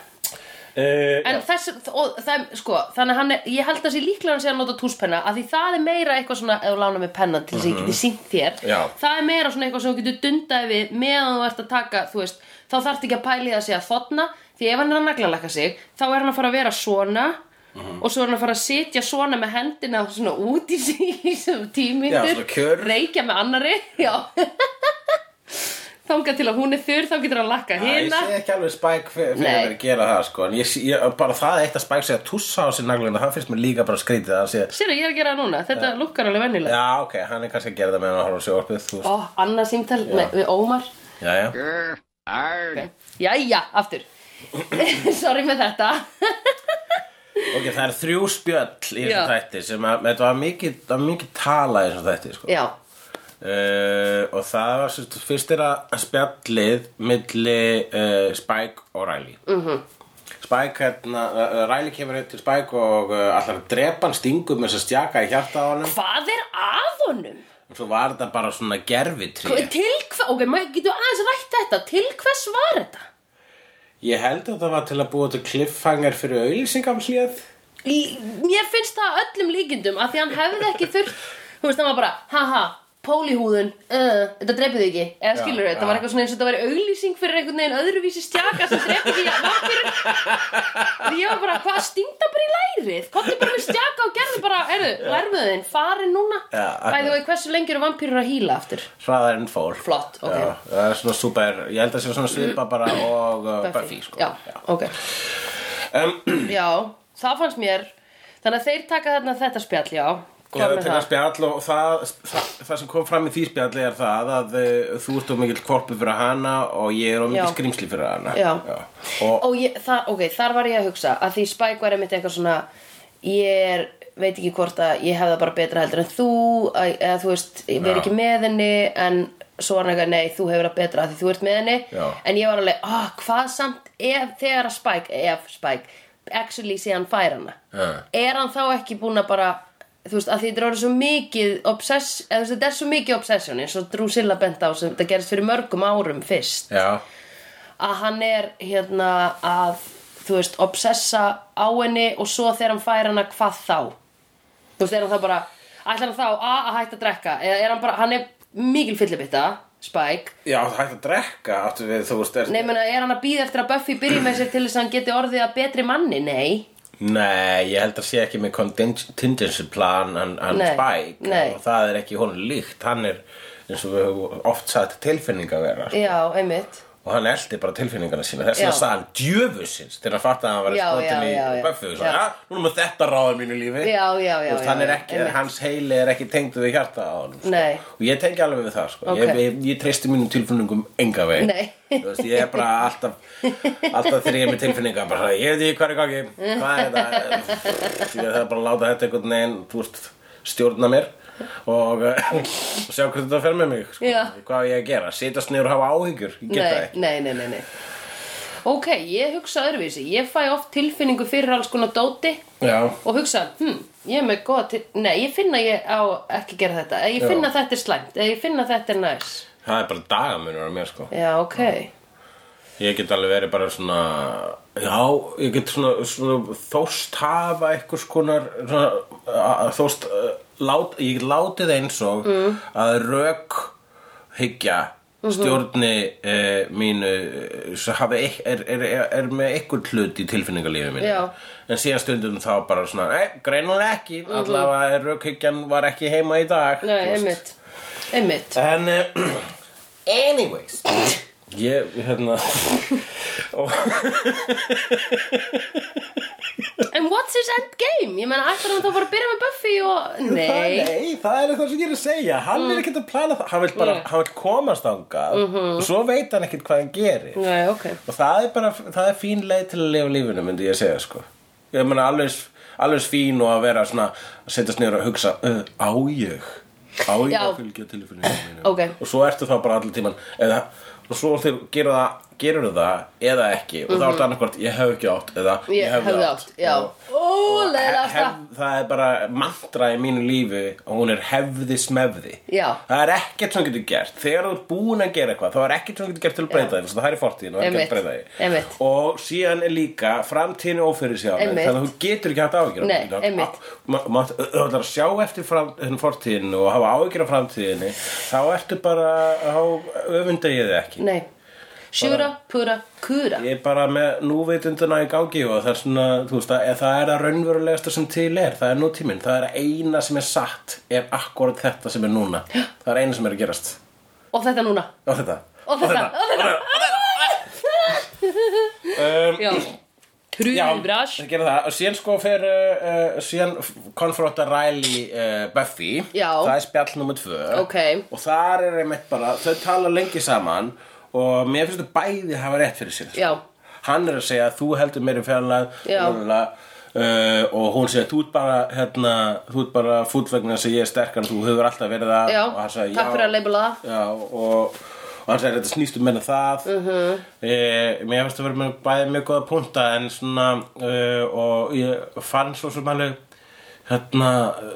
S3: eh,
S1: En þess, og, það, sko, þannig að hann er, ég held að sé líklega hann sé að nota túspenna af því það er meira eitthvað svona ef þú lána mig penna til þess að ég geti sínt þér
S3: Mhm. Já.
S1: það er meira svona eitthvað sem þú getur dundaði við meðan þú ert að taka, þú veist þá þarft ekki að pæli það sé að þotna því ef hann er að naglalaka sig, þá er hann að fara að vera svona
S3: Mhm.
S1: og svo er hann að fara að sitja svona með hendina svona út í sig í þessum
S3: Já, svona kjör.
S1: tímyndur reykja með annari já þangað til að hún er þurr þá getur hann að lakka
S3: Æ, Ég
S1: hina
S3: sé ekki alveg spæk fyrir
S1: Nei.
S3: að vera að gera það sko En ég, sé- ég, bara það eitt að spæk segja að tussa á sér nagluna Það finnst mér líka bara skrítið að sé
S1: Sérðu, ég er að gera það núna, þetta lukkar alveg vennilega
S3: Já, ok, hann er kannski að gera það meðan að horfa á sjóarpið Þú veist,
S1: Ó, annað símtal með, við Ómar
S3: já, já
S1: Jæja, aftur Sorry með þetta
S3: Ok, það er þrjú spjöll í
S1: Já.
S3: þessu þætti Sem að, þetta var mikið, það var mikið tala í þessu þætti sko
S1: Já,
S3: uh, Og það var sérst, fyrst er að spjallið Milli uh, Spike og Riley mm
S1: Mhm.
S3: -hmm. Spike, hérna, uh, uh, Riley kemur upp til Spike og uh, allar að drepa hann stingum með þess að stjaka í hjarta á honum
S1: hvað er að honum?
S3: og svo var þetta bara svona gerfitrý
S1: Hva- Til hvað, ok, maður getur aðeins rætt þetta Til hvers var þetta?
S3: Ég held að það var til að búa til cliffhanger fyrir auðlýsingamhlið
S1: Í, mér finnst það öllum líkindum að því hann hefði ekki þurft Þú veist, hann var bara, haha, pólihúðun uh, Þetta drepið þig ekki, eða skilur
S3: já.
S1: þetta var eitthvað svona eins og þetta væri auglýsing fyrir einhvern veginn öðruvísi stjaka sem drepið því að vampir Ég var bara, hvað stingda bara í lærið Komdu bara með stjaka og gerðu bara, heyrðu, lærmuðin, farin núna
S3: Já,
S1: Bæði og hversu lengi eru vampýrur að hýla aftur
S3: hraðar en fór
S1: Flott, ok.
S3: Já, það er svona super, ég held að það sé svona svipa bara og uh, Buffy sko.
S1: Já, ok
S3: Um,
S1: Já, það fannst mér Þannig að þeir taka þarna þetta spjall, já Hvað
S3: Eða
S1: með
S3: taka
S1: það?
S3: spjall og það, það, það sem kom fram í því spjalli er það að uh, þú ert of mikill korpu fyrir hana og ég er of mikill
S1: Já.
S3: skrimsli fyrir hana
S1: Já.
S3: Og,
S1: Og ég, það, ok, þar var ég að hugsa að því Spike var einmitt eitthvað svona ég er, veit ekki hvort að ég hefði það bara betra heldur en þú að, eða þú veist, ég verð
S3: Já.
S1: ekki með henni en svo var hann eitthvað, nei, þú hefur það betra að því þú ert með henni
S3: Já.
S1: en ég var alveg, ah, hvað samt ef þegar að Spike, ef Spike actually sé hann fær hana
S3: Já.
S1: er hann þá ekki búin að bara þú veist, að því þetta er orðið svo mikið obsess, eða þú veist, þetta er svo mikið obsession eins og Drusilla bent á sem þetta gerist fyrir mörgum árum fyrst
S3: já,
S1: að hann er hérna að þú veist, obsessa á henni og svo þegar hann fær hana hvað þá þú veist, er hann þá bara ætlar hann þá a, að hætta að drekka eða er hann bara, hann er mikil fyllibitta Spike,
S3: já, það hægt að drekka áttu við, þú veist, er
S1: nei, menna, er hann að býða eftir að Buffy byrja með sér til þess að hann geti orðið að betri manni, nei
S3: Nei, ég held að sé ekki með contingency plan hann, hann
S1: Nei,
S3: Spike
S1: nei.
S3: og það er ekki honum líkt hann er eins og við höfum oft sagt tilfinninga að vera
S1: já, einmitt
S3: og hann eldi bara tilfinningana sína þess
S1: Já.
S3: að sagði hann djöfusins til að fatta að hann var
S1: Já, já,
S3: skotin
S1: já,
S3: í
S1: já.
S3: Buffy og svo,
S1: Já.
S3: ja, nú erum við þetta ráðum um mínu lífi
S1: Já, já, já,
S3: Þú veist,
S1: já,
S3: hann er
S1: já,
S3: ekki,
S1: einmitt.
S3: hans heili er ekki tengd við hjarta á hann sko.
S1: Nei.
S3: og ég tengi alveg við það sko.
S1: Ok.
S3: ég, ég, ég treysti mínum tilfinningum enga veg
S1: Nei.
S3: Þú veist, ég er bara alltaf, alltaf þegar ég er með tilfinninga bara, ég veit ekki hvað er gangi hvað er það ég þarf bara að láta þetta einhvern veginn þú veist, stjórna mér og eh, sjá hvernig þetta fer með mig sko.
S1: Já.
S3: hvað á ég að gera, sitast niður og hafa áhyggjur ég get það
S1: nei,
S3: ekki
S1: nei, nei, nei, nei Ok, ég hugsa öðruvísi Ég fæ oft tilfinningu fyrir alls konar dóti
S3: Já,
S1: og hugsa, hm, ég er með góða til nei, ég finna ég á ekki gera þetta eða ég
S3: Já.
S1: finna þetta er slæmt, eða ég finna þetta er næs
S3: það er bara dagamunur á mér sko
S1: já, ok
S3: Ég get alveg verið bara svona Já, ég get svona, svona þóst hafa einhvers konar svona, að- þóst uh, lát, ég get látið eins og
S1: Mm.
S3: að rök hyggja
S1: Mhm.
S3: stjórni uh, mínu eh, svo hafi, eik- er, er, er, er með einhvern hlut í tilfinningalífi mínu
S1: Já.
S3: en síðan stundum þá bara svona eh, greinun ekki, allavega rökhyggjan var ekki heima í dag
S1: Mhm. nei,
S3: þú veist.
S1: einmitt, einmitt
S3: En uh, Anyways Ég, hérna og,
S1: en what's his end game? ég meina, ætlar hann þá bara að byrja með Buffy og
S3: það,
S1: nei,
S3: nei, það er það sem ég er að segja Hann er ekkert að plana það Hann vil bara,
S1: Nei.
S3: hann vil komast þangað Og svo veit hann ekkert hvað hann gerir
S1: nei, ok
S3: Og það er bara, það er fín leið til að lifa lífinu Myndi ég að segja, sko Ég meina, alveg, eins- alveg eins fín og að vera svona Að setjast niður og hugsa uh, Á ég, á ég
S1: Já.
S3: að fylgja tilfinningum mínum
S1: Ok.
S3: og svo ertu þá bara allir tíman eða, og svo þegar gerur það, gerur það eða ekki og þá ertu annarkvort ég hef ekki átt eða ég,
S1: Mhm. ég
S3: hefði
S1: hefði átt, já
S3: Og-
S1: ó,
S3: og
S1: leiðast
S3: hef,
S1: það
S3: það er bara mantra í mínu lífi og hún er hefði smefði
S1: Já.
S3: það er ekkert sem getur gert þegar þú ert búin að gera eitthvað þá er ekkert sem getur gert til að breyta því þannig að það er í fortíðin og
S1: Einmitt.
S3: ekkert breyta því
S1: Einmitt.
S3: og síðan er líka framtíðin ófyrir sjá
S1: Einmitt.
S3: þannig að þú getur ekki haft áhyggjur af
S1: Nei,
S3: því.
S1: einmitt.
S3: Ma- ma- þú ætlar að sjá eftir fram, hérna, fortíðinu og hafa áhyggjur af framtíðinni þá ertu bara á öfundegið ekki
S1: nei, sjúra, pura, kura
S3: Ég er bara með núveitunduna í gangi og það er svona, þú veist, það, það er það raunverulegasta sem til er, það er nútíminn, það er eina sem er satt er akkurat þetta sem er núna, það er eina sem er að gerast
S1: og þetta núna,
S3: og þetta,
S1: og þetta, og þetta
S3: um,
S1: já, trúið brash
S3: það gerir það og síðan sko fer uh, uh, síðan konfronta Riley uh, Buffy
S1: Já.
S3: það er spjall nummer tvö
S1: Ok.
S3: og þar er einmitt bara, þau tala lengi saman og mér finnst þau bæði hafa rétt fyrir sér sko.
S1: Já.
S3: hann er að segja að þú heldur um meiri fjarlæð
S1: Já.
S3: Uh, og hún segir, þú ert bara hérna, þú ert bara fúll vegna þess að ég er sterkan þú hefur alltaf verið það
S1: já,
S3: og hann sagði,
S1: takk
S3: "Já."
S1: fyrir að labela það
S3: Já, og, og hann segir þetta snýst um meina það uh -huh.
S1: Mhm.
S3: Mér finnst að vera með bæði mjög góða punta en svona uh, og ég fann svo sem alveg hérna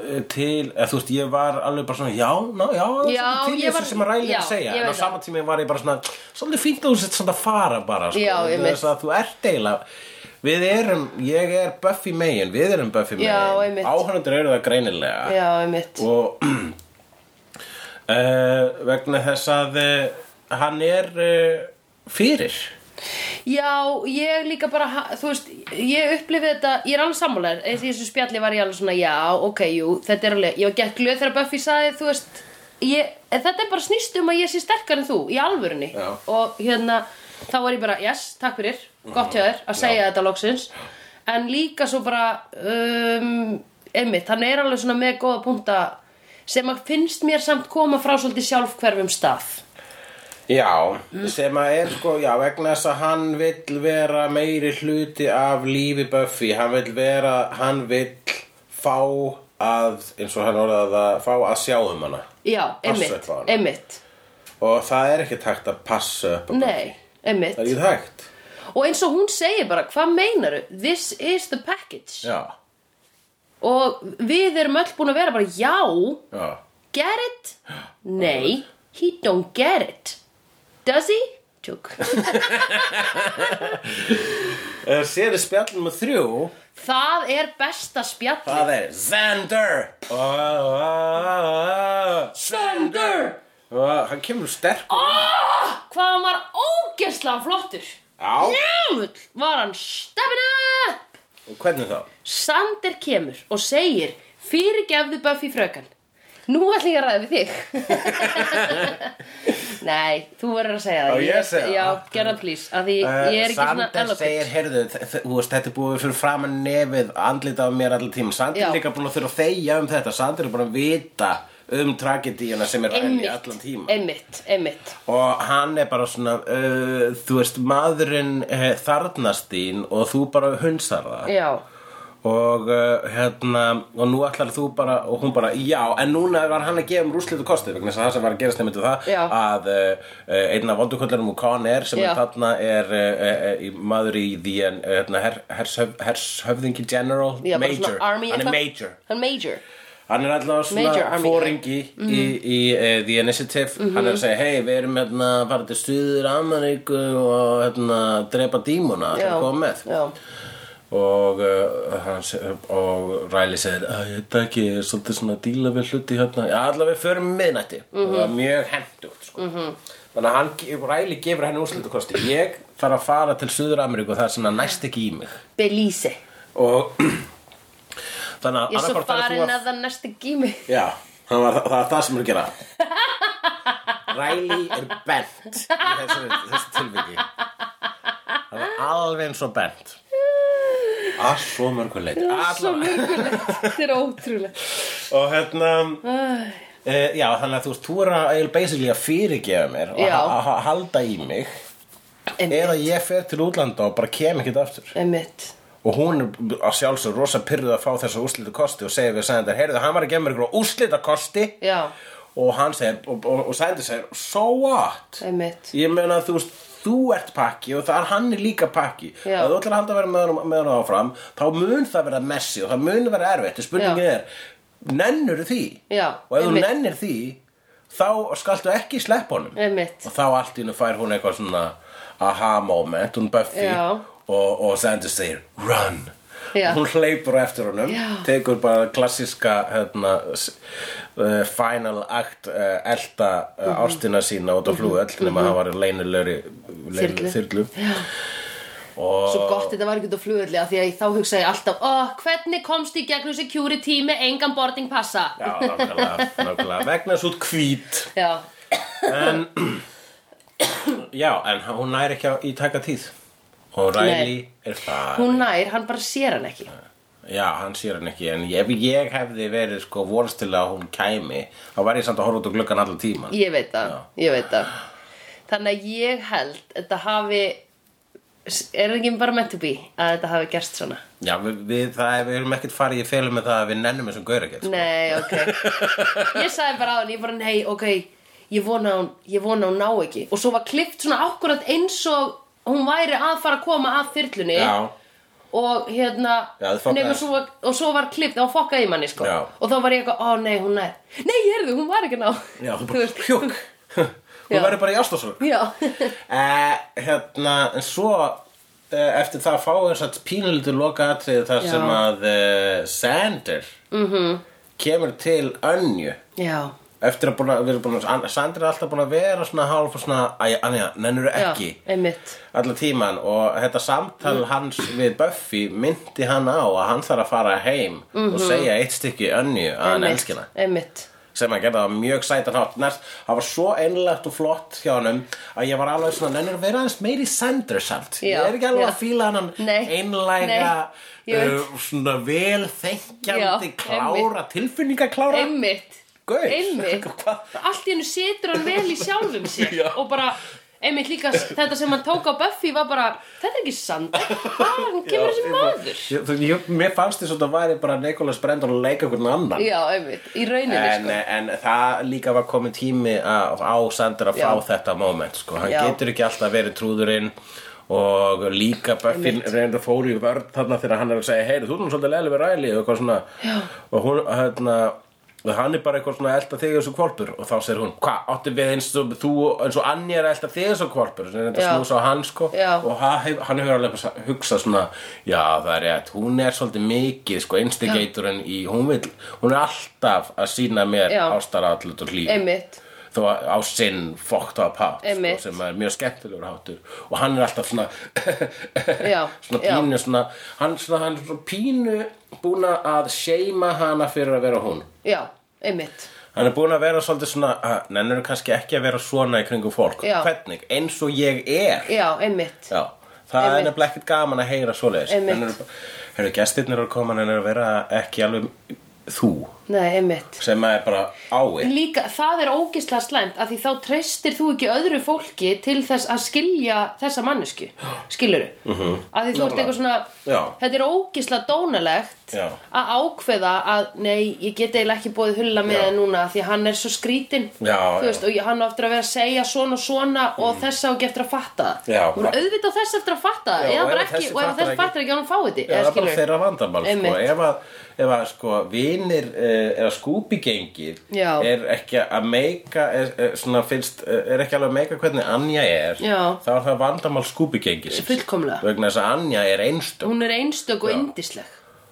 S3: eh, til eða þú veist ég var alveg bara svona já, ná, já, það er
S1: Já,
S3: svolítið til
S1: ég
S3: þessu
S1: var-
S3: sem að ræli
S1: já,
S3: að segja
S1: ég
S3: en á
S1: veit það.
S3: sama tími var ég bara svona svolítið fínt að þú sett svona að fara bara sko,
S1: Já,
S3: vegna
S1: einmitt.
S3: þess að þú ert eiginlega við erum, ég er Buffy megin við erum Buffy megin,
S1: Já, einmitt.
S3: áhörnundur eru það greinilega
S1: já, einmitt,
S3: og uh, vegna þess að uh, hann er uh, fyrir
S1: Já, ég líka bara, ha- þú veist, ég upplifið þetta, ég er alveg sammálar, eða því þessu spjalli var ég alveg svona, já, ok, jú, þetta er alveg, ég var gett glöð þegar Buffy saði, þú veist, ég, en þetta er bara snýst um að ég sé sterkar en þú, í alvörunni,
S3: Já.
S1: og hérna, þá var ég bara, yes, takk fyrir, gott hjá þér, að segja þetta loksins, en líka svo bara, um, einmitt, hann er alveg svona með góða punta sem að finnst mér samt koma frá svolítið sjálfhverfum stað
S3: Já, sem að er sko, já, vegna þess að hann vill vera meiri hluti af lífi Buffy, hann vill vera, hann vill fá að, eins og hann orðaði það, fá að sjá um hana.
S1: Já,
S3: Passa
S1: einmitt,
S3: upp á hana.
S1: einmitt
S3: Og það er ekki takt að passa upp á
S1: Nei, einmitt
S3: Það er ekki takt.
S1: Og eins og hún segir bara, hvað meinaru? This is the package
S3: Já,
S1: Og við erum öll búin að vera bara, já,
S3: já.
S1: get it? Nei, he don't get it Does he? Tjók
S3: Eh, Sér er spjall nummer þrjú,
S1: Það er besta spjall
S3: það er Xander.
S1: Xander
S3: Og Hann kemur sterk.
S1: Hvað hann var ógeðslega flottur
S3: Já,
S1: Djöfull var hann steppin up
S3: og hvernig þá?
S1: Sander kemur og segir Fyrirgefðu Buffy frökan Nú ætlum ég að ræða við þig Nei, þú verður að segja það
S3: Á, ég að segja
S1: Já,
S3: það?
S1: gerða please Af því
S3: Eh,
S1: ég er ekki svona
S3: Sander segir,
S1: eloquent
S3: heyrðu, þ- þ- þú veist, þetta er búið fyrir framan nefið andlita á mér allir tíma Sander
S1: Já.
S3: er líka búin að þurfa að þegja um þetta Sander er búin að vita um tragedíuna sem er á henni allan
S1: Einmitt,
S3: tíma
S1: einmitt, einmitt
S3: og hann er bara svona uh, þú veist, maðurinn uh, þarnast þín og þú bara hunsar það
S1: Já,
S3: og uh, hérna og nú ætlar þú bara, og hún bara já, en núna var hann að gefa um rúslitu kosti vegna þess að það sem var að gerast nefndu það
S1: Já.
S3: að uh, uh, einn af vonduköllunum úr Conner sem
S1: Já.
S3: er þarna er uh, uh, uh, maður í því en uh, hérna, her, hershöf, hershöfðingi general
S1: já bara
S3: major,
S1: svona army
S3: hann er
S1: eitthvað.
S3: major
S1: Hann major
S3: Hann er allavega
S1: Major
S3: svona
S1: Army, Mhm.
S3: fóringi í, í uh, The Initiative Hann er að segja, hei, við erum hérna að fara til Suður Ameríku og hérna drepa dímuna Það
S1: Já,
S3: er komið með
S1: já.
S3: og, uh, hann se- og Riley segir að ég veit ekki, ég er svolítið svona að díla við hluti hérna, ja, allavega við förum um miðnætti það
S1: Mhm.
S3: var mjög hendugt sko. þannig að hann, ge- Riley gefur henni úrslutukosti ég þarf að fara til Suður Ameríku og það er svona næst ekki í mig
S1: Belize
S3: og þannig að
S1: Ég er svo
S3: annaðhvort þarf þú
S1: farin að það næsta gími
S3: já, það, var, það, það er það sem er að gera Riley er bent í þessu, þessu tilviki það er alveg eins og bent að svo mörgu leyti
S1: Svo mörgulegt, þetta er ótrúlegt
S3: og hérna uh, já þannig að þú veist þú er að eiginlega basically að fyrirgefa mér og
S1: Já.
S3: ha- ha- halda í mig
S1: Einmitt,
S3: eða ég fer til útlanda og bara kem ekkert aftur
S1: einmitt
S3: og hún er að sjálfsög rosa pyrruð að fá þessa úrslita kosti og segir við Sændar heyrðu hann var að gefa mér ykkur úrslita kosti
S1: Já,
S3: og hann segir og, og, og Sændar segir so what
S1: einmitt
S3: ég meina þú veist þú ert pakki og það er hann er líka pakki
S1: Já.
S3: ef þú ætlar að halda að vera með hann, með hann áfram þá mun það vera messi og það mun vera erfitt og spurningin
S1: Já.
S3: er nennur því
S1: Já,
S3: og ef þú
S1: einmitt.
S3: nennir því þá skaltu ekki sleppa honum
S1: Einmitt
S3: og þá allt í hennu fær hún eitthvað svona aha moment, hún Buffy
S1: Já.
S3: og, og Sanders segir run
S1: Já.
S3: hún hleypur á eftir honum
S1: Já.
S3: tekur bara klassiska hérna, s- uh, final act uh, elta uh,
S1: Mhm.
S3: ástina sína út á flúðu öll nema það var leynilegri
S1: Þyrlu.
S3: leynilegri þyrlu
S1: Svo gott þetta var ekki út á flugulli af því að ég þá hugsaði ég alltaf oh, hvernig komst ég gegnum security með engan boarding passa
S3: já, nákvæmlega, nákvæmlega vegna þess út hvít
S1: Já,
S3: já, en hún næri ekki á- í taka tíð og Riley er það
S1: hún nær, hann bara sér hann ekki
S3: Já, hann sér hann ekki, en ef ég hefði verið sko vorst til að hún kæmi þá var ég samt að horfa út á gluggan allan tíma
S1: Ég veit það, ég veit það Þannig að ég held þetta hafi er það ekki bara meant to be að þetta hafi gerst svona
S3: Já, við, við, það, við erum ekkert farið í felum með það að við nennum þessum gaur ekkert sko.
S1: Nei, ok Ég sagði bara á hann, ég bara nei, ok Ég vona hún, ég vona hún ná ekki Og svo var klift svona akkurat eins og Hún væri að fara að koma að þyrlunni
S3: Já,
S1: Og hérna
S3: Já, þið fokkaði.
S1: nema svo, var- Og svo var klift, þá fokkaði í manni sko
S3: Já.
S1: Og þá var ég eitthvað, ó nei, hún nær Nei, hérðu, hún var ekki að ná
S3: já, þú
S1: Þú
S3: bara
S1: veist,
S3: pjúk
S1: Já.
S3: Hún verður bara í ástofsvöld
S1: Já,
S3: Eh, hérna, en svo eh, eftir það fáum við satt pínulítið lokaatrið
S1: Já.
S3: þar
S1: Mhm.
S3: sem að eh, Sander -hmm. kemur til önju
S1: já,
S3: eftir að búin að, við erum búin að Sander er alltaf búin að vera svona hálf og svona, æ, anja, nennur
S1: já,
S3: ekki
S1: einmitt
S3: allan tíman og þetta samtal
S1: Mm.
S3: hans við Buffy myndi hann á að hann þarf að fara heim og segja eitt stykki önnu að hann
S1: Mhm. Einmitt,
S3: elskina
S1: Einmitt,
S3: sem að gera það á mjög sætan hátt Næst, það var svo einlegt og flott hjá honum að ég var alveg svona, nennir að vera aðeins meiri sendursalt
S1: Já,
S3: ég er ekki alveg
S1: já.
S3: að fíla hann
S1: Nei,
S3: einlega
S1: nei, ég veit.
S3: uh, svona vel þenkjandi
S1: Já,
S3: klára, tilfinningaklára
S1: einmitt
S3: Gaur.
S1: einmitt allt í hennu setur hann vel í sjálfum sér
S3: Já.
S1: og bara einmitt líka s- þetta sem hann tók á Buffy var bara þetta er ekki sand hann kemur þessi maður
S3: Ég, þú- ég, mér fannst þess að það væri bara Nikolas Brendon að leika einhvern annan
S1: já einmitt í rauninni
S3: en,
S1: sko
S3: en það líka var komið tími að, á Sander að fá
S1: Já.
S3: þetta moment sko. hann
S1: Já.
S3: getur ekki alltaf verið trúðurinn og líka Buffy reynir að fóru í vörð þarna þegar hann er að segja heyri, þú erum svolítið leilig við ræli og, eitthvað svona, og hún, hérna, og hann er bara eitthvað svona að elta þig þessu kvolpur og þá segir hún, hvað, áttu við eins og þú eins og Anja er að elta þig þessu kvolpur sem er þetta
S1: Já.
S3: snús á hann sko
S1: Já.
S3: og hann hef- hann hefur alveg bara hugsað svona já það er rétt, hún er svolítið mikið sko instigatorinn í, hún vil hún er alltaf að sína mér
S1: Já.
S3: ástaratlut og hlýð
S1: einmitt
S3: þó að- á sinn fókt á pát sko,
S1: Einmitt.
S3: sem er mjög skemmtilegur hátur og hann er alltaf svona
S1: Já,
S3: svona
S1: já.
S3: pínu svona, hann, svona, hann er svona pínu búin að seima hana fyrir að vera hún
S1: já einmitt
S3: Hann er búinn að vera svolítið svona, að, nennir kannski ekki að vera svona í kringum fólk.
S1: Já.
S3: Hvernig? Eins og ég er.
S1: já einmitt
S3: Já, það
S1: Einmitt.
S3: er nefnilega ekkert gaman að heyra svoleiðis
S1: Einmitt.
S3: En eru- Eru gestirnir eru að koma en eru að vera ekki alveg þú
S1: nei einmitt
S3: sem er bara ái
S1: Líka, það er ógislega slæmt af því þá treystir þú ekki öðru fólki til þess að skilja þessa mannesku skiluru uh -huh. af því þú ert
S3: Nákvæmlega.
S1: eitthvað svona
S3: Mhm. Já.
S1: þetta er ógislega dónalegt
S3: Já.
S1: að ákveða að nei, ég get eiginlega ekki bóðið hulla með
S3: Já.
S1: það núna af því að hann er svo skrítin Þú
S3: Já, já. Mhm.
S1: veist, og ég- hann á eftir að vera að segja svona og svona og þess á ekki eftir að fatta það
S3: Já.
S1: hún er auðvitað á þess eftir að fatta það
S3: Já,
S1: eða
S3: og
S1: bara
S3: ef
S1: ekki,
S3: þessi
S1: og ef
S3: fattar
S1: þess
S3: ekki-
S1: fattar ekki hann fái því
S3: Já, það
S1: eða
S3: er bara
S1: skilurðu.
S3: þeirra vandamál sko.
S1: Einmitt.
S3: ef, að, ef að sko vinir eh, eða skúpigengið
S1: Já.
S3: er ekki að meika er, er, svona, finnst, eh, er ekki alveg að meika hvernig Anja er
S1: Já.
S3: þá er það vandamál skúpigengis
S1: Fullkomlega.
S3: vegna þess að Anja er einstök
S1: hún er einstök og yndisleg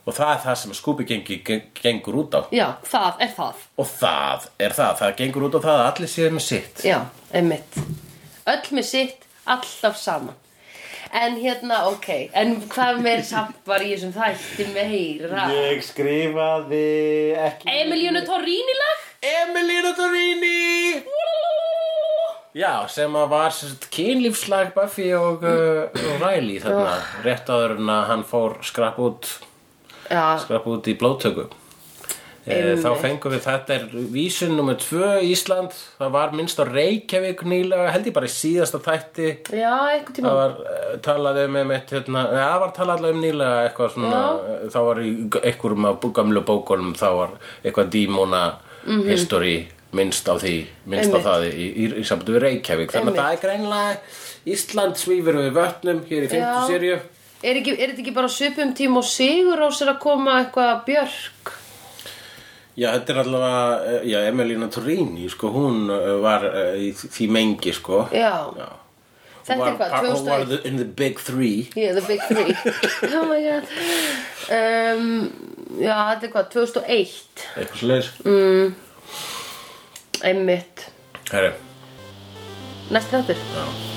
S3: og það er það sem skúpigengi gen- gengur út á
S1: já, það er það
S3: og það er það, það gengur út á það að allir séu með sitt
S1: Já, einmitt Öll með sitt, alltaf saman En hérna, ok En hvað meir samt var ég sem þætti meira
S2: Ég skrifaði ekki
S1: Emilíuna Torrini lag?
S3: Emilina Torini Já, sem að var sem sagt, kynlífslag Buffy og, uh, og Riley þarna, rétt áður en að hann fór skrapp út,
S1: Já,
S3: skrapp út í blóttöku e, Þá fengum við þetta er vísun nummer tvö Ísland, það var minnst á Reykjavík nýlega, held ég bara í síðasta þætti
S1: já, eitthvað tíma
S3: Það var uh, talað um einmitt, hérna, neða, það var talað allavega um nýlega eitthvað svona, uh, þá var í g- einhverjum af bú- gömlu bókunum, þá var eitthvað dímona history minnst á því, minnst
S1: Mhm. Einmitt.
S3: á það í, í, í sambandi við Reykjavík, þannig að það er greinlega Ísland svífur við vötnum hér í 50
S1: Já.
S3: sériu
S1: Er, ekki, er þetta ekki bara á svipum tíma og sigur á sér að koma eitthvað björk?
S3: Já, þetta er allavega, uh, já, Emelina Torini, sko, hún uh, var uh, í því mengi, sko
S1: Já,
S3: Já. Hún
S1: þetta
S3: var
S1: er hvað,
S3: par- Hún var
S1: 2001
S3: the- in the big three
S1: Yeah, the big three Oh my god um, Já, þetta er hvað, 2001
S3: Eitthvað slegis
S1: Mm. Einmitt
S3: Herri,
S1: Næst þáttur
S3: já